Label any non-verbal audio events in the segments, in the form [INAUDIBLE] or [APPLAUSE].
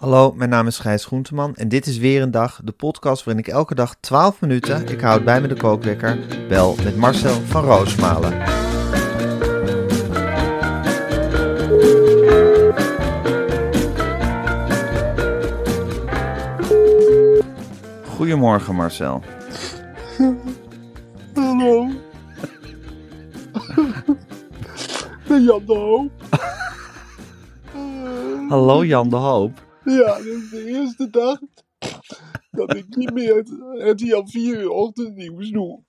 Hallo, mijn naam is Gijs Groenteman en dit is weer een dag, de podcast waarin ik elke dag 12 minuten, ik houd bij me de kookwekker, bel met Marcel van Roosmalen. Goedemorgen Marcel. Hallo. De Jan de Hoop. Eh, Hallo Jan de Hoop. Ja, dit is de eerste dag dat ik niet meer het, het hier 4 uur ochtendnieuws doe.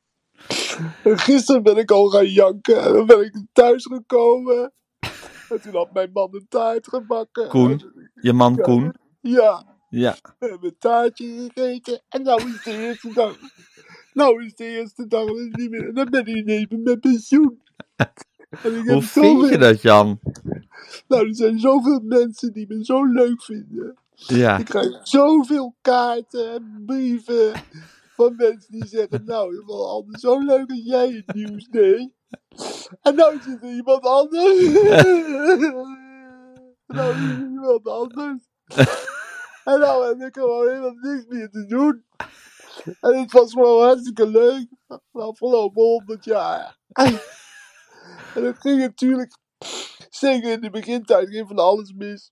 En gisteren ben ik al gaan janken en dan ben ik thuis gekomen. En toen had mijn man een taart gebakken. Koen, je man Koen. Ja, Ja, we hebben een taartje gegeten en nou is de eerste dag. Nou is de eerste dag dat ik niet meer. En dan ben ik even met pensioen. En ik hoe vind je dat? dat Jan? Nou, er zijn zoveel mensen die me zo leuk vinden. Ja, Ik krijg zoveel kaarten en brieven van mensen die zeggen... Nou, het was altijd zo leuk als jij het nieuws deed. En nou zit er iemand anders. [LAUGHS] nou is er iemand anders. en nou heb ik gewoon helemaal niks meer te doen. En het was gewoon hartstikke leuk. De afgelopen honderd jaar. en het ging natuurlijk... Zeker in de begintijd ging van alles mis.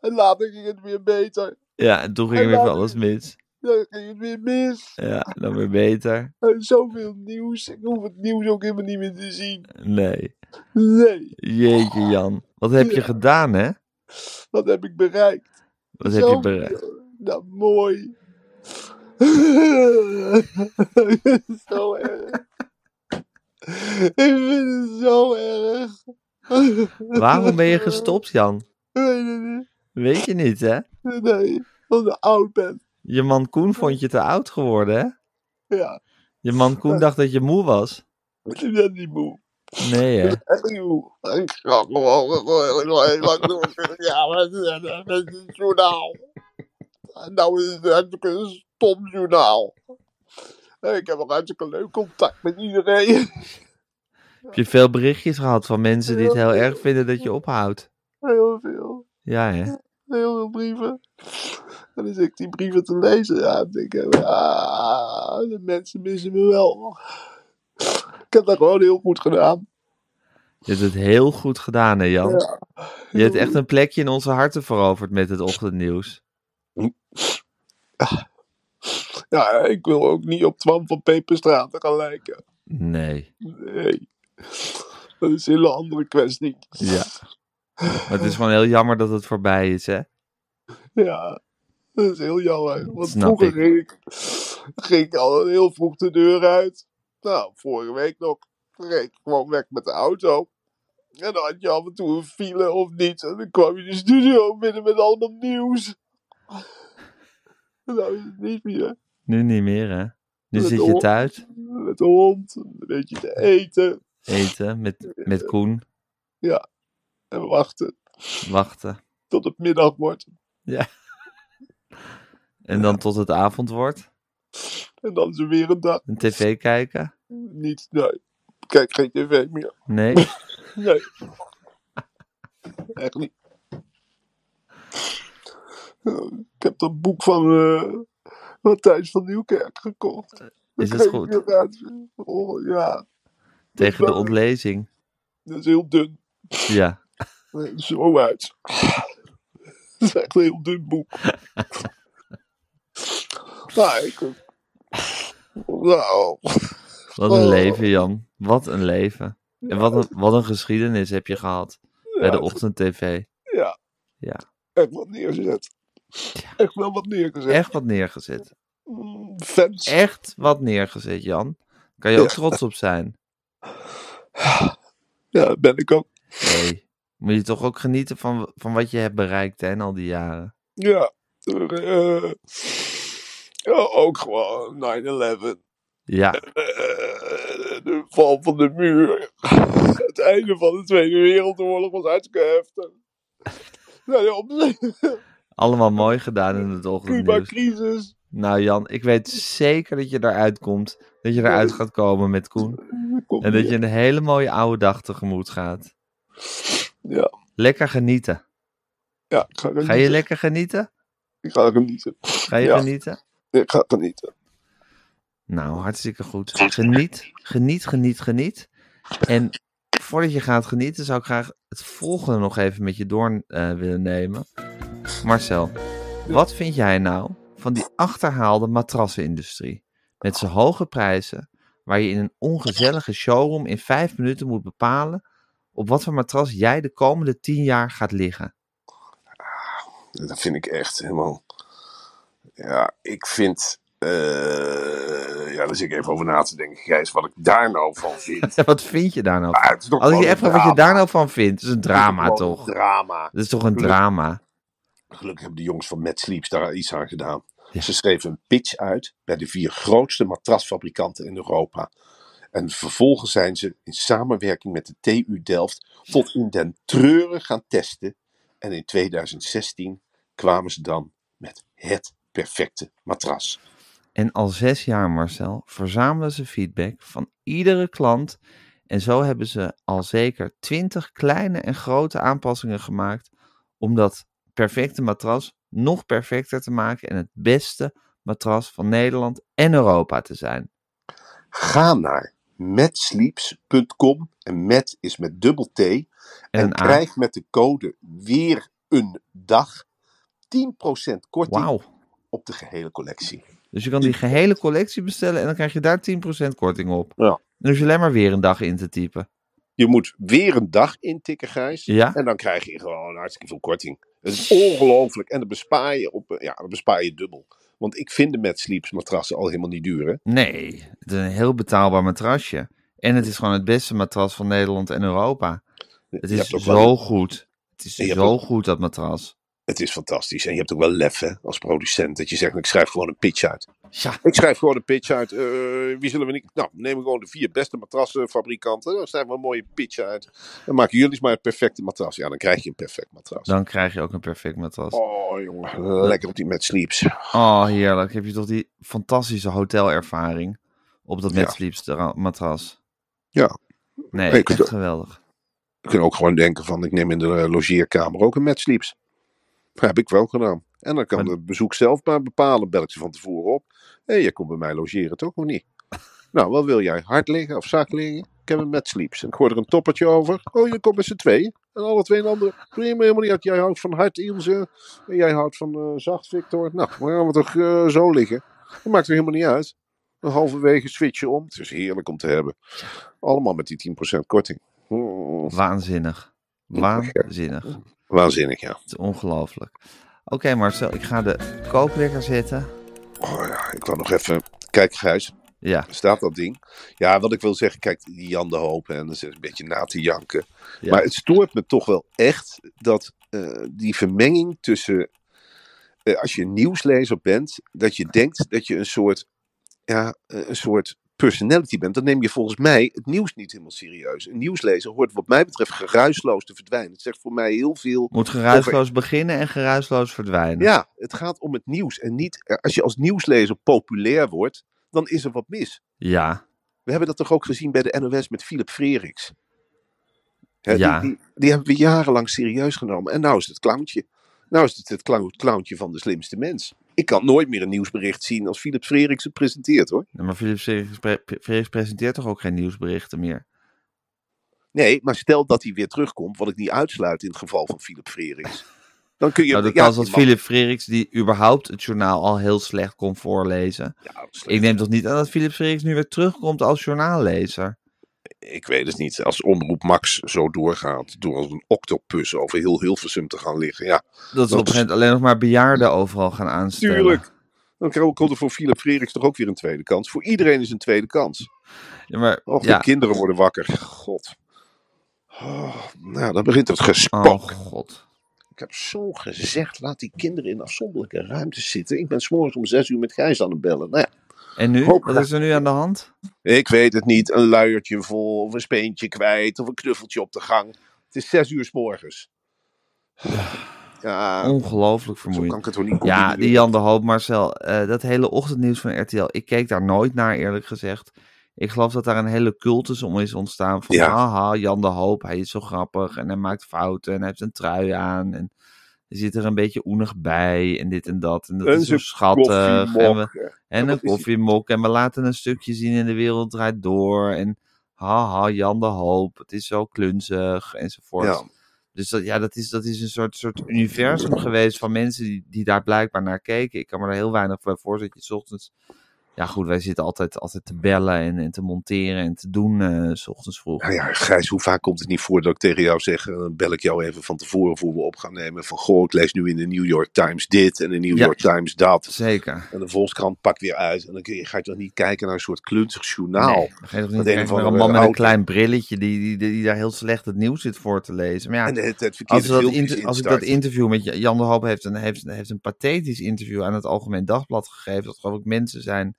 En later ging het weer beter. ja, en toen ging En weer van dan- alles mis. Dan ging het weer mis. Ja, dan weer beter. En zoveel nieuws. Ik hoef het nieuws ook helemaal niet meer te zien. Nee. Nee, Jeetje Jan, wat heb je Oh. Ja. gedaan hè? wat heb ik bereikt? Wat heb je Zoveel. bereikt? Nou, mooi. [LAUGHS] zo erg. Ik vind het zo erg. Waarom [LAUGHS] ben je gestopt, Jan? Ik weet het niet. Weet je niet, hè? Nee, omdat ik oud ben. Je man Koen vond je te oud geworden, hè? Ja, Je man Koen dacht dat je moe was. ik ben niet moe. Nee, hè? Ik ga gewoon heel lang door. Ja, maar het is een journaal. En nou is het eigenlijk een stom journaal. En Ik heb een hartstikke leuk contact met iedereen. Heb je veel berichtjes gehad van mensen die het heel erg vinden dat je ophoudt? Heel veel. Ja, hè? Heel veel brieven. En dan zit ik die brieven te lezen. Ja, dan denk ik, ah, de mensen missen me wel. Ik heb dat gewoon heel goed gedaan. Je hebt het heel goed gedaan, hè, Jan? Ja. Je hebt echt een plekje in onze harten veroverd met het ochtendnieuws. Ja, ik wil ook niet op Twan van Peperstraat gaan lijken. Nee. Nee. Dat is een hele andere kwestie. Ja. Maar het is gewoon heel jammer dat het voorbij is, hè? Ja. Dat is heel jammer. Want Snap vroeger ik. Ging, ik, ging ik al heel vroeg de deur uit. Nou, vorige week nog. Reed ik gewoon weg met de auto. En dan had je af en toe een file of niet. En dan kwam je de studio binnen met allemaal nieuws. En nou is het niet meer. Nu niet meer, hè? Nu Dat zit je hoor- thuis, Met de hond, een beetje te eten eten met, met Koen, en wachten wachten. tot het middag wordt. En dan tot het avond wordt. En dan is er weer een dag. Een tv kijken. Niet, nee. Ik Kijk, geen tv meer. Nee. Nee. Echt niet. Eh, Ik heb dat boek van eh, Matthijs van Nieuwkerk gekocht. Eh, Is Dat het kan je goed? weer uit- Oh, ja, Tegen de ontlezing. dat is heel dun. Ja. zo uit. [LAUGHS] Het is echt een heel dun [LAUGHS] boek. nou, ik... eh, Nou, Wat een leven, Jan. Wat een leven. En wat een, wat een geschiedenis heb je gehad bij de ochtendtv. ja. Ja. Echt wat neergezet. Echt wel wat neergezet. Echt wat neergezet. Mm, Fans. Echt wat neergezet, Jan. Kan je ook trots op zijn. Ja, dat ben ik ook. Nee. Moet je toch ook genieten van, van wat je hebt bereikt hè, in al die jaren. Ja. Eh, ja, ook gewoon 9-11. Ja, Eh, de val van de muur. Het einde van de Tweede Wereldoorlog was hartstikke heftig. Nou, ja, op de allemaal mooi gedaan in het ochtendnieuws. Cuba-crisis. Nou Jan, ik weet zeker dat je eruit komt. Dat je eruit gaat komen met Koen. Komt En dat weer. je een hele mooie oude dag tegemoet gaat. Ja, Lekker genieten. ja ik Ga ga genieten. je lekker genieten? Ik ga genieten. Ga je Ja. genieten? Ik ga genieten. Nou, hartstikke goed. Geniet, geniet, geniet, geniet. En voordat je gaat genieten, zou ik graag het volgende nog even met je door eh, willen nemen. Marcel, wat vind jij nou van die achterhaalde matrassenindustrie? Met zijn hoge prijzen, waar je in een ongezellige showroom in vijf minuten moet bepalen op wat voor matras jij de komende tien jaar gaat liggen. [LAUGHS] Dat vind ik echt helemaal. Ja, ik vind. eh, ja, daar zit ik even over na te denken, Gijs, wat ik daar nou van vind. Wat vind je daar nou Ah, van? het is toch Als ik je gewoon even een wat je drama. daar nou van vindt, het is een drama Gewoon toch? Drama. Dat is toch een drama? Gelukkig hebben de jongens van Mad Sleeps daar iets aan gedaan. Ja. Ze schreven een pitch uit bij de vier grootste matrasfabrikanten in Europa. En vervolgens zijn ze in samenwerking met de TU Delft tot in den treuren gaan testen. En in 2016 kwamen ze dan met het perfecte matras. En al zes jaar, Marcel, verzamelen ze feedback van iedere klant. En zo hebben ze al zeker twintig kleine en grote aanpassingen gemaakt om dat perfecte matras nog perfecter te maken en het beste matras van Nederland en Europa te zijn. Ga naar matsleeps.com en mat is met dubbel T. En, En een A. krijg met de code weer een dag 10% korting Wauw. op de gehele collectie. Dus je kan die gehele collectie bestellen en dan krijg je daar 10% korting op. Ja. En dus je alleen maar weer een dag in te typen. Je moet weer een dag intikken, Gijs. Ja. En dan krijg je gewoon hartstikke veel korting. Het is ongelooflijk. En dan bespaar je, op, eh, ja, dan bespaar je dubbel. Want ik vind de Mad Sleeps matrassen al helemaal niet duur. Hè? Nee, het is een heel betaalbaar matrasje. En het is gewoon het beste matras van Nederland en Europa. Het Je is hebt ook zo wel- goed. Het is Je hebt zo ook- goed, dat matras. Het is fantastisch. En je hebt ook wel lef hè, als producent. Dat je zegt, ik schrijf gewoon een pitch uit. Ja, Ik schrijf gewoon een pitch uit. eh, wie zullen we niet... Nou, neem gewoon de vier beste matrassenfabrikanten. Dan schrijven we een mooie pitch uit. Dan maken jullie eens maar het perfecte matras. Ja, dan krijg je een perfect matras. dan krijg je ook een perfect matras. Oh, jongen. Lekker op die Mad Sleeps. Oh, heerlijk. Heb je toch die fantastische hotelervaring op dat Ja. Medsleeps matras? Ja. Nee, Ik- echt geweldig. Je kunt ook gewoon denken van ik neem in de eh, logeerkamer ook een matsleeps. Dat heb ik wel gedaan. En dan kan Maar- het bezoek zelf maar bepalen. Bel ik ze van tevoren op. Hé, jij komt bij mij logeren toch of niet? Nou, wat wil jij? Hard liggen of zak liggen? Ik heb een matsleeps. En ik gooi er een toppertje over. Oh, je komt met z'n tweeën. En alle twee een andere. Prima, helemaal niet uit. Jij houdt van hard, Ilse. En jij houdt van eh, zacht, Victor. Nou, dan gaan we toch eh, zo liggen. Dat maakt er helemaal niet uit. Dan halverwege switchen om. Het is heerlijk om te hebben. Allemaal met die 10% korting. Mm. Waanzinnig. Waanzinnig. Het Waanzinnig, ja. is ongelooflijk. Oké, Marcel, ik ga de kookwekker zetten. Oh ja, ik wou nog even. Kijk, Gijs, Ja, staat dat ding? Ja, wat ik wil zeggen, kijk, die Jan de Hoop en dan zit een beetje na te janken. Ja. Maar het stoort me toch wel echt dat eh, die vermenging tussen. eh, als je een nieuwslezer bent, dat je denkt dat je een soort. Ja, eh, een soort personality bent, dan neem je volgens mij het nieuws niet helemaal serieus. Een nieuwslezer hoort wat mij betreft geruisloos te verdwijnen. Het zegt voor mij heel veel moet geruisloos beginnen en geruisloos verdwijnen. Ja, het gaat om het nieuws. En niet, eh, als je als nieuwslezer populair wordt, dan is er wat mis. ja. We hebben dat toch ook gezien bij de NOS met Philip Freriks. Hè, die- Ja. die, die, hebben we jarenlang serieus genomen. En nou is het het clowntje. Nou is het het clown- clowntje van de slimste mens. Ik kan nooit meer een nieuwsbericht zien als Philip Freriks het presenteert hoor. Ja, maar Philip Frerichs pre- Frerichs presenteert toch ook geen nieuwsberichten meer? Nee, maar stel dat hij weer terugkomt, wat ik niet uitsluit in het geval van Philip Frerings. Dan kun je... Nou, de ja, kans je dat mag- Philip Freriks, die überhaupt het journaal al heel slecht kon voorlezen. Ja, slecht. Ik neem toch niet aan dat Philip Freriks nu weer terugkomt als journaallezer? ik weet het niet. Als omroep Max zo doorgaat, door als een octopus over heel Hilversum te gaan liggen. Ja, Dat ze op een gegeven moment alleen nog maar bejaarden overal gaan aanstellen. tuurlijk. Dan krijg- komt er voor Philip Freriks toch ook weer een tweede kans. Voor iedereen is een tweede kans. Ja, maar, Och, ja. de kinderen worden wakker. God. Oh, nou, dan begint het Oh, gespook. god. Ik heb zo gezegd, laat die kinderen in afzonderlijke ruimtes zitten. Ik ben s'morgens om zes uur met Gijs aan het bellen. Nou ja, En nu? Hoop- Wat is er nu aan de hand? Ik weet het niet, een luiertje vol, of een speentje kwijt, of een knuffeltje op de gang. Het is zes uur s morgens. Ja, Ongelooflijk zo kan ik vermoeiend. het toch niet Ja, combineren? die Jan de Hoop, Marcel. eh, dat hele ochtendnieuws van RTL. Ik keek daar nooit naar, eerlijk gezegd. Ik geloof dat daar een hele cultus om is ontstaan. Van, Ja. haha, Jan de Hoop, hij is zo grappig. En hij maakt fouten. En hij heeft een trui aan. En hij zit er een beetje oenig bij. En dit en dat. En dat En is zo zijn schattig. En, eh, we, Koffiemok. en wat een is die- koffiemok. En we laten een stukje zien in De Wereld Draait Door. En haha, Jan de Hoop. Het is zo klunzig. Enzovoort. Ja. Dus dat, ja, dat is, dat is een soort, soort universum geweest van mensen die, die daar blijkbaar naar keken. Ik kan me er heel weinig bij voorstellen. dat je 's ochtends. Ja, goed, wij zitten altijd, altijd te bellen en, en te monteren en te doen eh, s ochtends vroeg. Nou ja, Gijs, hoe vaak komt het niet voor dat ik tegen jou zeg, eh, dan bel ik jou even van tevoren voor we op gaan nemen. Van, goh, ik lees nu in de New York Times dit en de New Ja. York Times dat. Zeker. En de Volkskrant pakt weer uit. En dan kun je, ga je toch niet kijken naar een soort klunzig journaal. Nee, dan ga je toch niet Dat een kijken of naar andere een man met een auto. klein brilletje die, die, die, die daar heel slecht het nieuws zit voor te lezen. Maar ja, En de hele tijd als, verkeerde we dat filmpjes inter- als ik dat instart. interview met J- Jan de Hoop heeft een, heeft, heeft een pathetisch interview aan het Algemeen Dagblad gegeven. Dat geloof ik mensen zijn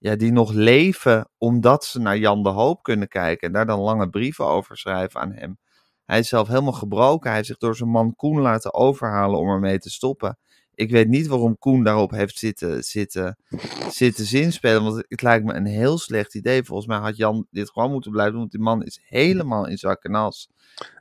ja, die nog leven omdat ze naar Jan de Hoop kunnen kijken. En daar dan lange brieven over schrijven aan hem. Hij is zelf helemaal gebroken. Hij heeft zich door zijn man Koen laten overhalen om ermee te stoppen. Ik weet niet waarom Koen daarop heeft zitten, zitten, zitten zinspelen. Want het lijkt me een heel slecht idee. Volgens mij had Jan dit gewoon moeten blijven doen. Want die man is helemaal in zakken nas.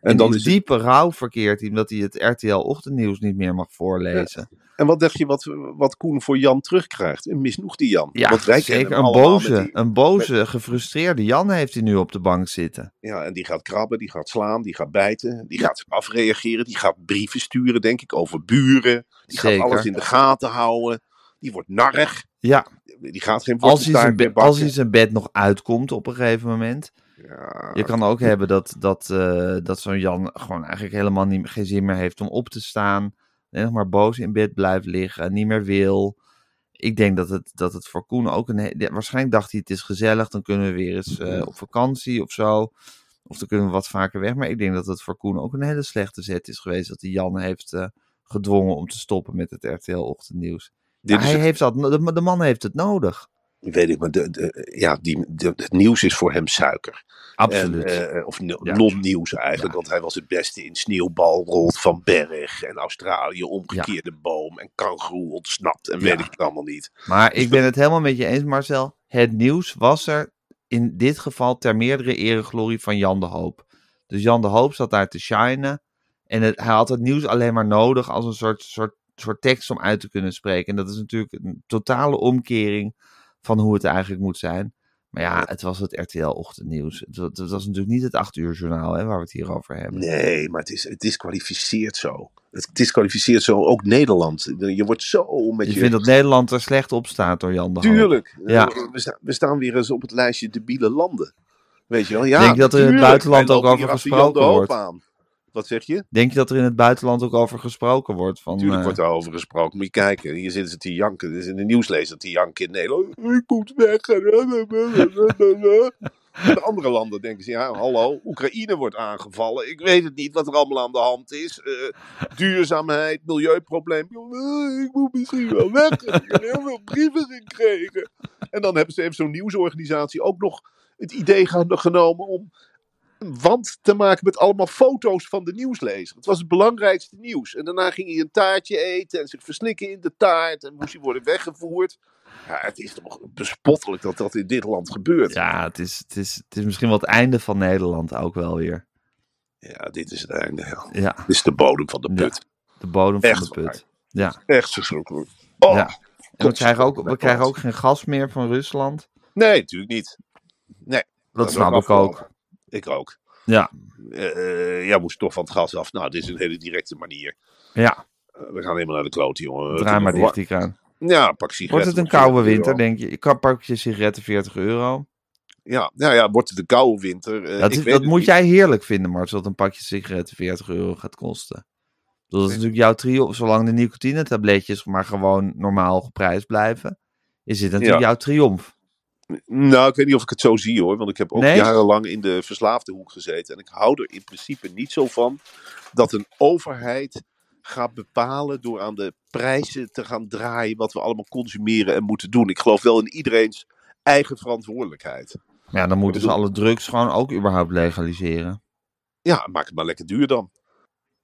En, dan is het- diepe rouw verkeerd in dat hij het RTL-ochtendnieuws niet meer mag voorlezen. En wat dacht je wat, wat Koen voor Jan terugkrijgt? Een misnoegde Jan. Ja, Want wij kennen zeker. hem Een allemaal met boze, die- een boze, gefrustreerde Jan heeft hij nu op de bank zitten. ja, en die gaat krabben, die gaat slaan, die gaat bijten, die gaat afreageren, die gaat brieven sturen, denk ik, over buren. Die Zeker. gaat alles in de gaten houden. Die wordt narrig. Ja, Die gaat geen als hij, zijn wortelstaart be- meer als bakken. hij zijn bed nog uitkomt op een gegeven moment. Ja, Je kan ook hebben dat, dat, eh, dat zo'n Jan gewoon eigenlijk helemaal niet, geen zin meer heeft om op te staan. En nog maar boos in bed blijft liggen, niet meer wil. Ik denk dat het, dat het voor Koen ook een... he- ja, waarschijnlijk dacht hij het is gezellig, dan kunnen we weer eens eh, op vakantie of zo. Of dan kunnen we wat vaker weg. Maar ik denk dat het voor Koen ook een hele slechte zet is geweest. Dat hij Jan heeft eh, gedwongen om te stoppen met het RTL-ochtendnieuws. dit is hij het- heeft dat, no- de, de man heeft het nodig. weet ik maar, de, de- ja, die, de- het nieuws is voor hem suiker. Absoluut. En, eh, of no- Ja. non-nieuws eigenlijk, Ja. want hij was het beste in sneeuwbal, rolt van berg en Australië, omgekeerde boom en kangoeroe ontsnapt en Ja. weet ik het allemaal niet. Maar dus ik ben het helemaal met je eens, Marcel. Het nieuws was er in dit geval ter meerdere ereglorie van Jan de Hoop. Dus Jan de Hoop zat daar te shinen. En het, hij had het nieuws alleen maar nodig als een soort, soort, soort tekst om uit te kunnen spreken. En dat is natuurlijk een totale omkering van hoe het eigenlijk moet zijn. Maar ja, het was het RTL-ochtendnieuws. Het, wa- het was natuurlijk niet het acht uur journaal hè, waar we het hier over hebben. Nee, maar het is, het is kwalificeerd zo. Het diskwalificeert zo ook Nederland. Je wordt zo met je... je vindt dat Nederland er slecht op staat door Jan de Hoop. Tuurlijk. Ja. We, sta- we staan weer eens op het lijstje debiele landen. Weet je wel? Denk Ja, je dat er in het tuurlijk. buitenland Wij ook lopen over hier achter Jan de gesproken Hoop wordt? aan. Wat zeg je? Denk je dat er in het buitenland ook over gesproken wordt? Van, Natuurlijk eh, wordt daarover gesproken. Moet je kijken. Hier zitten ze te janken. Er is in de nieuwslezer te janken in Nederland. "Oh, Ik moet weg. [LAUGHS] In de andere landen denken ze, ja hallo, Oekraïne wordt aangevallen. Ik weet het niet wat er allemaal aan de hand is. Eh, duurzaamheid, milieuprobleem. Eh, Ik moet misschien wel weg. Ik heb heel veel brieven gekregen. En dan hebben ze heeft zo'n nieuwsorganisatie ook nog het idee ge- genomen om een wand te maken met allemaal foto's van de nieuwslezer. Het was het belangrijkste nieuws. En daarna ging hij een taartje eten en zich verslikken in de taart. En moest hij worden weggevoerd. Ja, het is toch bespottelijk dat dat in dit land gebeurt. Ja, het is, het, is, het is misschien wel het einde van Nederland ook wel weer. Ja, dit is het einde. ja. Ja, Dit is de bodem van de Ja. put. de bodem Echt van de put. waar. Ja, Echt verschrikkelijk. Oh, ja. En we Tot- krijgen, ook, we Nederland. krijgen ook geen gas meer van Rusland. Nee, natuurlijk niet. Nee. Dat is snap ook ik ook. afgelopen. Ik ook. Ja, Eh, ja, moest toch van het gas af. Nou, dit is een hele directe manier. ja. Eh, we gaan helemaal naar de klote, jongen. Draai maar Eh, Wa- dicht die kraan. Ja, pak sigaretten. Wordt het een voor 40 koude euro. winter, denk je? Ik kan pakje sigaretten 40 euro. Ja, nou ja, wordt het een koude winter? Eh, Dat, ik is- weet dat het moet niet. jij heerlijk vinden, Mart, dat een pakje sigaretten 40 euro gaat kosten. Ik bedoel, Dat is natuurlijk jouw trio, zolang de nicotine-tabletjes maar gewoon normaal geprijsd blijven, is dit natuurlijk Ja. jouw triomf. Nou, ik weet niet of ik het zo zie hoor. Want ik heb ook Nee? jarenlang in de verslaafde hoek gezeten. En ik hou er in principe niet zo van dat een overheid gaat bepalen door aan de prijzen te gaan draaien wat we allemaal consumeren en moeten doen. Ik geloof wel in iedereen's eigen verantwoordelijkheid. Maar ja, dan moeten ze bedoel- alle drugs gewoon ook überhaupt legaliseren. Ja, maak het maar lekker duur dan.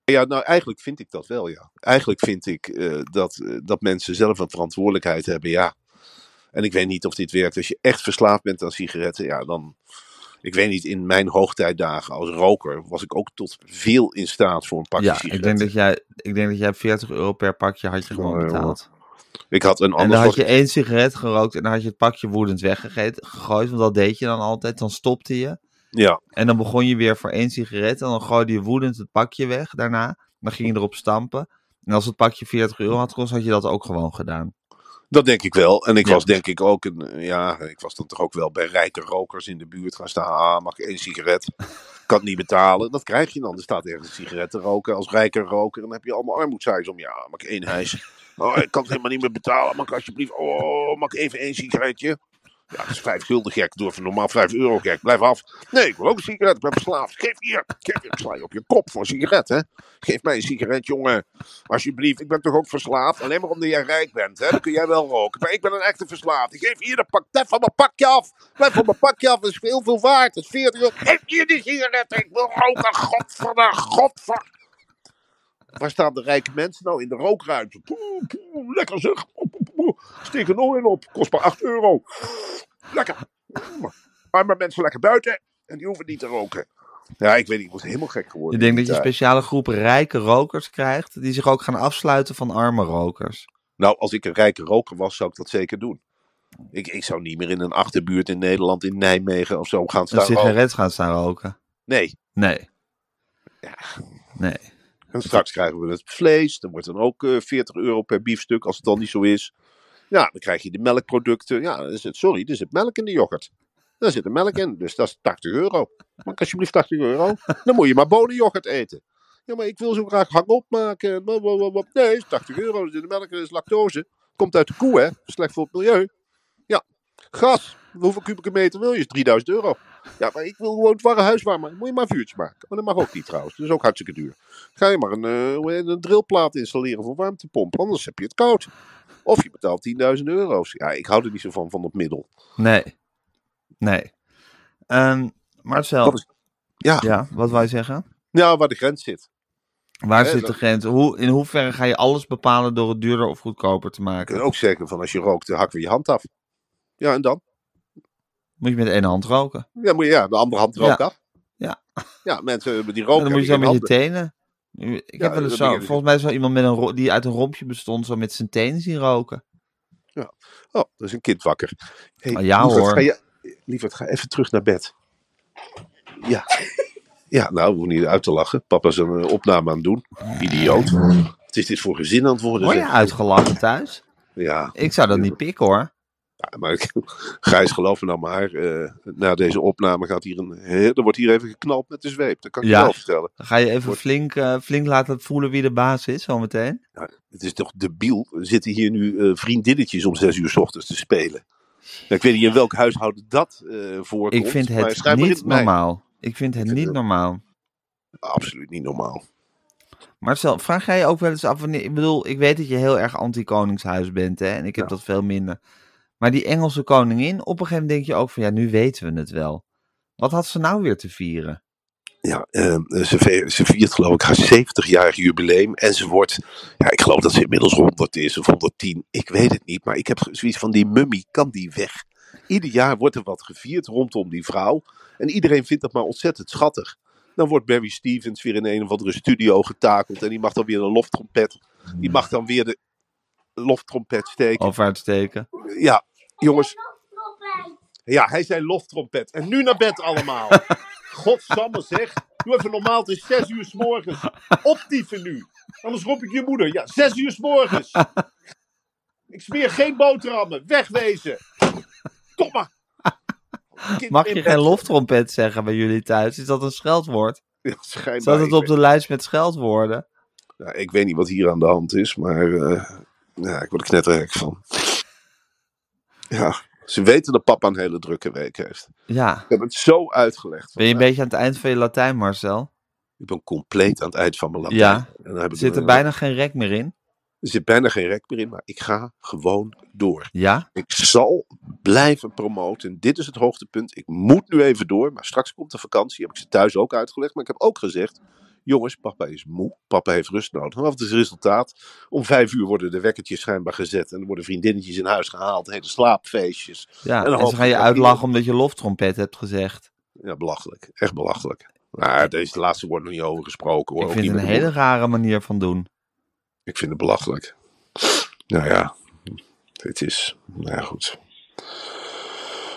Ja, nou eigenlijk vind ik dat wel, ja. Eigenlijk vind ik eh, dat, eh, dat mensen zelf een verantwoordelijkheid hebben, ja. En ik weet niet of dit werkt. Als je echt verslaafd bent aan sigaretten, ja, dan... Ik weet niet, in mijn hoogtijdagen als roker was ik ook tot veel in staat voor een pakje ja, ik sigaretten. denk, dat jij, ik denk dat jij 40 euro per pakje had je gewoon Ja, jongen. betaald. Ik had een en dan ander... had je één sigaret gerookt en dan had je het pakje woedend weggegooid, gegooid, want dat deed je dan altijd. Dan stopte je Ja, en dan begon je weer voor één sigaret en dan gooide je woedend het pakje weg daarna. Dan ging je erop stampen. En als het pakje 40 euro had gekost, had je dat ook gewoon gedaan. dat denk ik wel. En ik Ja. was denk ik ook een... eh, Ja, ik was dan toch ook wel bij rijke rokers in de buurt gaan staan. Ah, mag ik één sigaret? Kan het niet betalen. Dat krijg je dan. Er staat ergens een sigaret te roken. Als rijke roker, dan heb je allemaal armoedzaaiers om. Ja, mag ik één hijs? Oh, ik kan het helemaal niet meer betalen. Mag ik alsjeblieft... Oh, mag ik even één sigaretje? Ja, dat is vijf gulden gek. Door van normaal vijf euro gek. Blijf af. Nee, ik wil ook een sigaret. Ik ben verslaafd. Geef hier. Geef hier. Ik Sla je op je kop voor een sigaret, hè? Geef mij een sigaret, jongen. Alsjeblieft. Ik ben toch ook verslaafd? Alleen maar omdat jij rijk bent, hè? Dan kun jij wel roken. Maar ik ben een echte verslaafd. Ik geef hier dat pak. Blijf van mijn pakje af. Blijf van mijn pakje af. Dat is veel, veel waard. Dat is 40 euro. Geef hier die sigaretten. Ik wil roken. Godverdomme. Godver. Waar staan de rijke mensen nou in de rookruimte? Poeh, poeh, lekker zeg. Poeh, poeh, poeh. Steek er nog in op. Kost maar 8 euro. Lekker. Arme mensen lekker buiten. En die hoeven niet te roken. Ja, ik weet niet. Ik was helemaal gek geworden. Ik denk in dat die je tijd. speciale groepen rijke rokers krijgt, die zich ook gaan afsluiten van arme rokers. Nou, als ik een rijke roker was, zou ik dat zeker doen. Ik, ik zou niet meer in een achterbuurt in Nederland, in Nijmegen of zo gaan Een staan. roken. sigaret gaan staan roken. Nee. Nee. Nee. En straks krijgen we het vlees. Dan wordt dan ook eh, 40 euro per biefstuk, als het dan niet zo is. Ja, dan krijg je de melkproducten. Ja, dan is het, sorry, er zit melk in de yoghurt. Daar zit er melk in, dus dat is 80 euro. Maar alsjeblieft 80 euro. Dan moet je maar bonenyoghurt eten. Ja, maar ik wil zo graag hangop maken. en blablabla. Nee, het is 80 euro. Er zit melk in, er is lactose. Komt uit de koe, hè? Slecht voor het milieu. Ja, gas. Hoeveel kubieke meter wil je? Is 3000 euro. Ja, maar ik wil gewoon het warme huis warm maken. Moet je maar een vuurtje maken. Maar dat mag ook niet trouwens. Dat is ook hartstikke duur. Ga je maar een, eh, hoe heet het, een drillplaat installeren voor warmtepomp. Anders heb je het koud. Of je betaalt 10.000 euro's. Ja, ik hou er niet zo van, van dat middel. Nee. Nee. Ehm, Marcel, Wat is- Ja, ja, wat wou je zeggen? nou, waar de grens zit. Waar Ja, zit dat- de grens? Hoe, in hoeverre ga je alles bepalen door het duurder of goedkoper te Ik kan maken? ook zeggen van als je rookt, dan hakken we je hand af. Ja, en dan? Moet je met één hand roken? Ja, moet je, ja de andere hand rookt Ja. af. Ja. Ja, mensen die En roken. dan moet je zo hebben met je geen tenen. Ik Ja, heb wel dat eens begin zo, ik. volgens mij is wel iemand met een ro- die uit een rompje bestond, zo met zijn tenen zien Oh, roken. handen. Oh, dat is een kind wakker. Hey, Ah, ja, hoor. Ga je, lieverd, ga even terug naar bed. Ja. Ja, nou, we hoeven niet uit te lachen. Papa is een eh, opname aan het doen. Idioot. Wat is dit voor gezin aan het worden? Word je zeg? uitgelachen thuis? Ja, Ik zou dat niet pikken hoor. Ja, maar ik- Gijs, geloof me nou maar, eh, na deze opname gaat hier een, hè, er wordt hier even geknald met de zweep. Dat kan ik Ja. je wel vertellen. Dan ga je even Wordt- flink, eh, flink laten voelen wie de baas is zometeen. Ja, het is toch debiel. Er zitten hier nu eh vriendinnetjes om zes uur s ochtends te spelen. Ja, ik weet niet in welk huishouden dat eh voorkomt. Ik vind maar het schijnbaar in niet mij- normaal. Ik vind het vind niet het- normaal. Absoluut niet normaal. Marcel, vraag jij je ook wel eens af wanneer. Ik bedoel, ik weet dat je heel erg anti-koningshuis bent, hè? En ik heb Ja. dat veel minder. Maar die Engelse koningin, op een gegeven moment denk je ook van ja, nu weten we het wel. Wat had ze nou weer te vieren? Ja, eh, ze, ve- ze viert geloof ik haar 70-jarig jubileum. En ze wordt, ja, ik geloof dat ze inmiddels 100 is of 110. Ik weet het niet, maar ik heb zoiets van die mummie, kan die weg? Ieder jaar wordt er wat gevierd rondom die vrouw. En iedereen vindt dat maar ontzettend schattig. Dan wordt Barry Stevens weer in een of andere studio getakeld. En die mag dan weer een loftrompet. Die mag dan weer de loftrompet steken. Over uitsteken. Ja, jongens. Ja, hij zei loftrompet. En nu naar bed allemaal. Godsamme zeg. Doe even normaal, het is zes uur s morgens. Optieven nu. Anders roep ik je moeder. Ja, zes uur s morgens. Ik smeer geen boterhammen. Wegwezen. Kom maar. Kind Mag in je bed. geen loftrompet zeggen bij jullie thuis? Is dat een scheldwoord? Ja, schijnbaar. Staat Ik het op de lijst met scheldwoorden? Nou, ik weet niet wat hier aan de hand is, maar eh, ja, ik word er knetterhek van. Ja, ze weten dat papa een hele drukke week heeft. Ja. Ik heb het zo uitgelegd. Ben je een beetje aan het eind van je Latijn, Marcel? Ik ben compleet aan het eind van mijn Latijn. Ja. En dan heb ik Zit er bijna geen rek meer in? er zit bijna geen rek meer in, maar ik ga gewoon door. Ja? Ik zal blijven promoten. Dit is het hoogtepunt. Ik moet nu even door, maar straks komt de vakantie. Heb ik ze thuis ook uitgelegd, maar ik heb ook gezegd... Jongens, papa is moe. Papa heeft rust nodig. Wat is het resultaat? Om vijf uur worden de wekkertjes schijnbaar gezet. En er worden vriendinnetjes in huis gehaald. Hele slaapfeestjes. Ja. En dan En ze hoop gaan ik je dat uitlachen omdat je loftrompet hebt gezegd. Ja, belachelijk. Echt belachelijk. Nou, deze laatste wordt nog niet over gesproken. Hoor. Ik Ook vind niet het een met de hele moeder. rare manier van doen. Ik vind het belachelijk. Nou ja, het is... Nou ja, goed.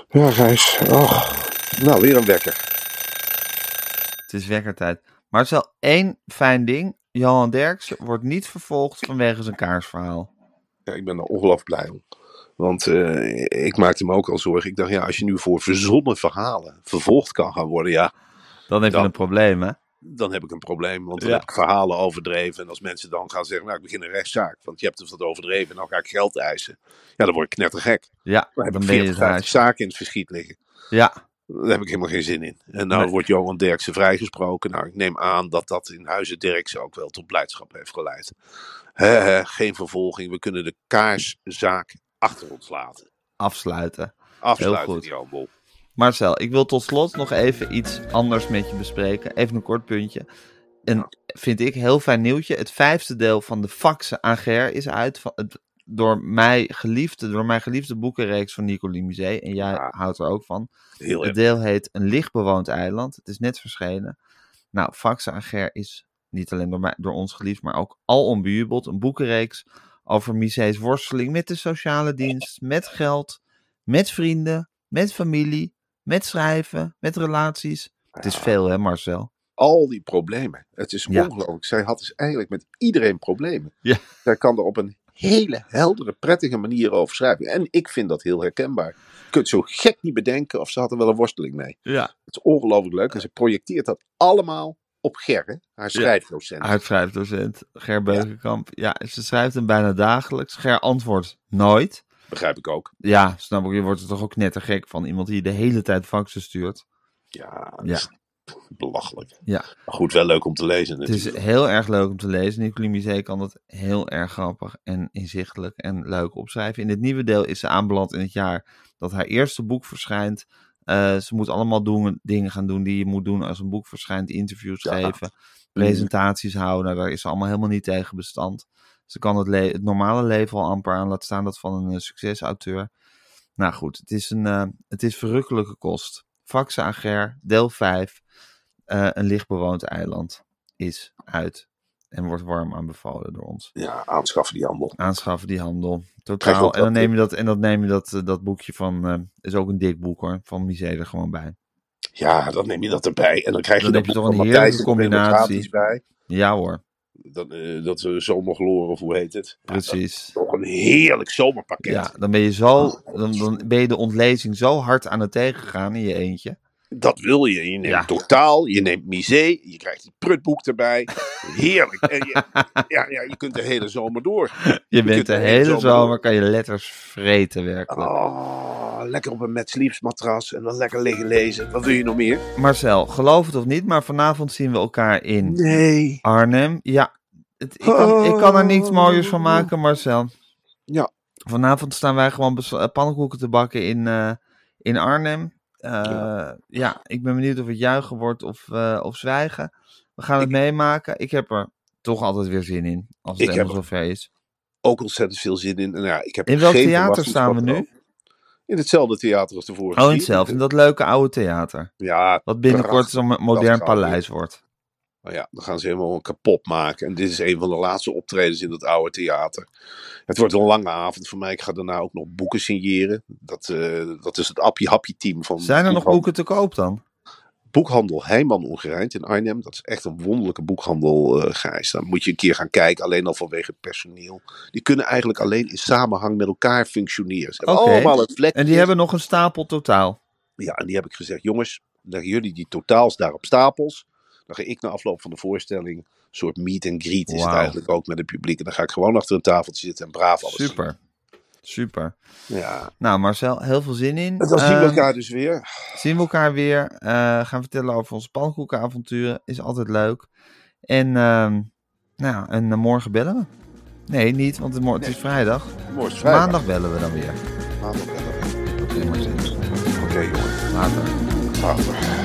Ja, Gijs. Oh. Nou, weer een wekker. Het is wekkertijd. Marcel, één fijn ding. Johan Derksen wordt niet vervolgd vanwege zijn kaarsverhaal. Ja, ik ben er ongelooflijk blij om. Want eh, ik maakte me ook al zorgen. Ik dacht, ja, als je nu voor verzonnen verhalen vervolgd kan gaan worden, ja, Dan heb je Dan- een probleem, hè? dan heb ik een probleem. Want dan Ja. heb ik verhalen overdreven. En als mensen dan gaan zeggen, nou, ik begin een rechtszaak. Want je hebt het wat overdreven en dan ga ik geld eisen. Ja, dan word ik knettergek. Ja, Dan heb dan ik ben je 40, het 50 huis. zaken in het verschiet liggen. Ja, Daar heb ik helemaal geen zin in. En nou Nee. wordt Johan Derksen vrijgesproken. Nou, ik neem aan dat dat in huizen Derksen ook wel tot blijdschap heeft geleid. Hè, hè, geen vervolging. We kunnen de kaarszaak achter ons laten. afsluiten. Heel Afsluiten goed. die handel. Marcel, ik wil tot slot nog even iets anders met je bespreken. Even een kort puntje. En vind ik heel fijn nieuwtje. Het vijfde deel van de faxen aan Ger is uit van het door mij geliefde, door mijn geliefde boekenreeks van Nico Limizé. En jij Ja. houdt er ook van. Heel Het erg. deel heet Een lichtbewoond eiland. Het is net verschenen. Nou, Faxe aan Ger is niet alleen door, mij, door ons geliefd, maar ook al onbejubeld. Een boekenreeks over Misé's worsteling met de sociale dienst, met geld, met vrienden, met familie, met schrijven, met relaties. Het is veel, hè Marcel? Al die problemen. Het is Ja. ongelooflijk. Zij had dus eigenlijk met iedereen problemen. Ja. Zij kan er op een hele heldere, prettige manier over schrijven. En ik vind dat heel herkenbaar. Je kunt zo gek niet bedenken of ze had er wel een worsteling mee. Ja. Het is ongelooflijk leuk. En ze projecteert dat allemaal op Gerre, haar schrijfdocent. Uitschrijfdocent Ger Beukenkamp. Ja. ze schrijft hem bijna dagelijks. Ger antwoordt nooit. Begrijp ik ook. Ja, snap ik. Je wordt er toch ook nettergek van iemand die je de hele tijd faxen stuurt. Ja, dat Ja. is belachelijk. Ja. Maar goed, wel leuk om te lezen dus Het is natuurlijk. heel erg leuk om te lezen. Nicolie Misé kan dat heel erg grappig en inzichtelijk en leuk opschrijven. In dit nieuwe deel is ze aanbeland in het jaar dat haar eerste boek verschijnt. Eh, ze moet allemaal doen, dingen gaan doen die je moet doen als een boek verschijnt. Interviews Ja. geven, presentaties houden. Nou, daar is ze allemaal helemaal niet tegen bestand. Ze kan het, le- het normale leven al amper aan. Laat staan dat van een eh, succesauteur. Nou goed, het is, een, eh, het is verrukkelijke kost. Faxe Ager, deel 5. eh, een lichtbewoond eiland is uit. En wordt warm aanbevolen door ons. Ja, aanschaffen die handel. Aanschaffen die handel. Krijg je Totaal. ook En dan dat- neem je dat, en dat, neem je dat, eh, dat boekje van. eh, is ook een dik boek hoor. Van Misé er gewoon bij. Ja, dan neem je dat erbij. En dan krijg Dan je heb je dat toch boek een van heerlijke Matthijs er nog helemaal combinatie. gratis bij. Ja hoor, dat, eh dat eh, zomergloren, of hoe heet het? Ja, dat precies. is toch een heerlijk zomerpakket. Ja, dan ben je zo. Oh, Dan, dan ben je de ontlezing zo hard aan het tegengaan in je eentje. Dat wil je. Je neemt Ja. totaal, je neemt misé, je krijgt die prutboek erbij. Heerlijk. En [LAUGHS] je, ja, ja, je kunt de hele zomer door. Je kunt bent de de hele hele zomer zomer. door. Kan je letters vreten werkelijk. Oh, lekker op een Mad Sleeps matras en dan lekker liggen lezen. Wat wil je nog meer? Marcel, geloof het of niet, maar vanavond zien we elkaar in Nee. Arnhem. Ja, het, ik, kan, ik kan er niets mooiers van maken, Marcel. Ja. Vanavond staan wij gewoon bes- eh, pannenkoeken te bakken in, eh, in Arnhem. Eh, ja. ik ben benieuwd of het juichen wordt of, eh, of zwijgen. We gaan het meemaken. Ik heb er toch altijd weer zin in, als het Ik heb helemaal zover is. Ook ontzettend veel zin in. En ja, ik heb In welk geen theater staan we verwachtingspatroon. nu? In hetzelfde theater als de vorige Oh, in keer. hetzelfde, in dat leuke oude theater. Ja, Wat binnenkort prachtig. zo'n modern dat gaat paleis wordt. Nou ja, dan gaan ze helemaal kapot maken. En dit is een van de laatste optredens in dat oude theater. Het wordt een lange avond voor mij. Ik ga daarna ook nog boeken signeren. Dat, eh, dat is het Appie Happy team van. Zijn er nog van- boeken te koop dan? Boekhandel Heijman Ongerijnd in Arnhem. Dat is echt een wonderlijke boekhandel, eh Gijs. Daar moet je een keer gaan kijken, alleen al vanwege het personeel. Die kunnen eigenlijk alleen in samenhang met elkaar functioneren. Ze hebben Oké. allemaal het vlek. En die hebben nog een stapel totaal. Ja, en die heb ik gezegd, jongens, leggen jullie die totaals daar op stapels. Dan ga ik na afloop van de voorstelling, een soort meet and greet is het Wauw. eigenlijk ook met het publiek. En dan ga ik gewoon achter een tafeltje zitten en braaf alles doen. Super. Super. Ja. Nou, Marcel, heel veel zin in. En dan zien we Ehm, elkaar dus weer. zien we elkaar weer. eh, gaan vertellen over onze pannenkoekenavonturen. Is altijd leuk. En, ehm, nou, en eh, morgen bellen we. Nee, niet, want het, mor- het is vrijdag. Mooi, is vrijdag. Maandag bellen we dan weer. Maandag. Oké, Oké, Marcel. jongen. Later. Later.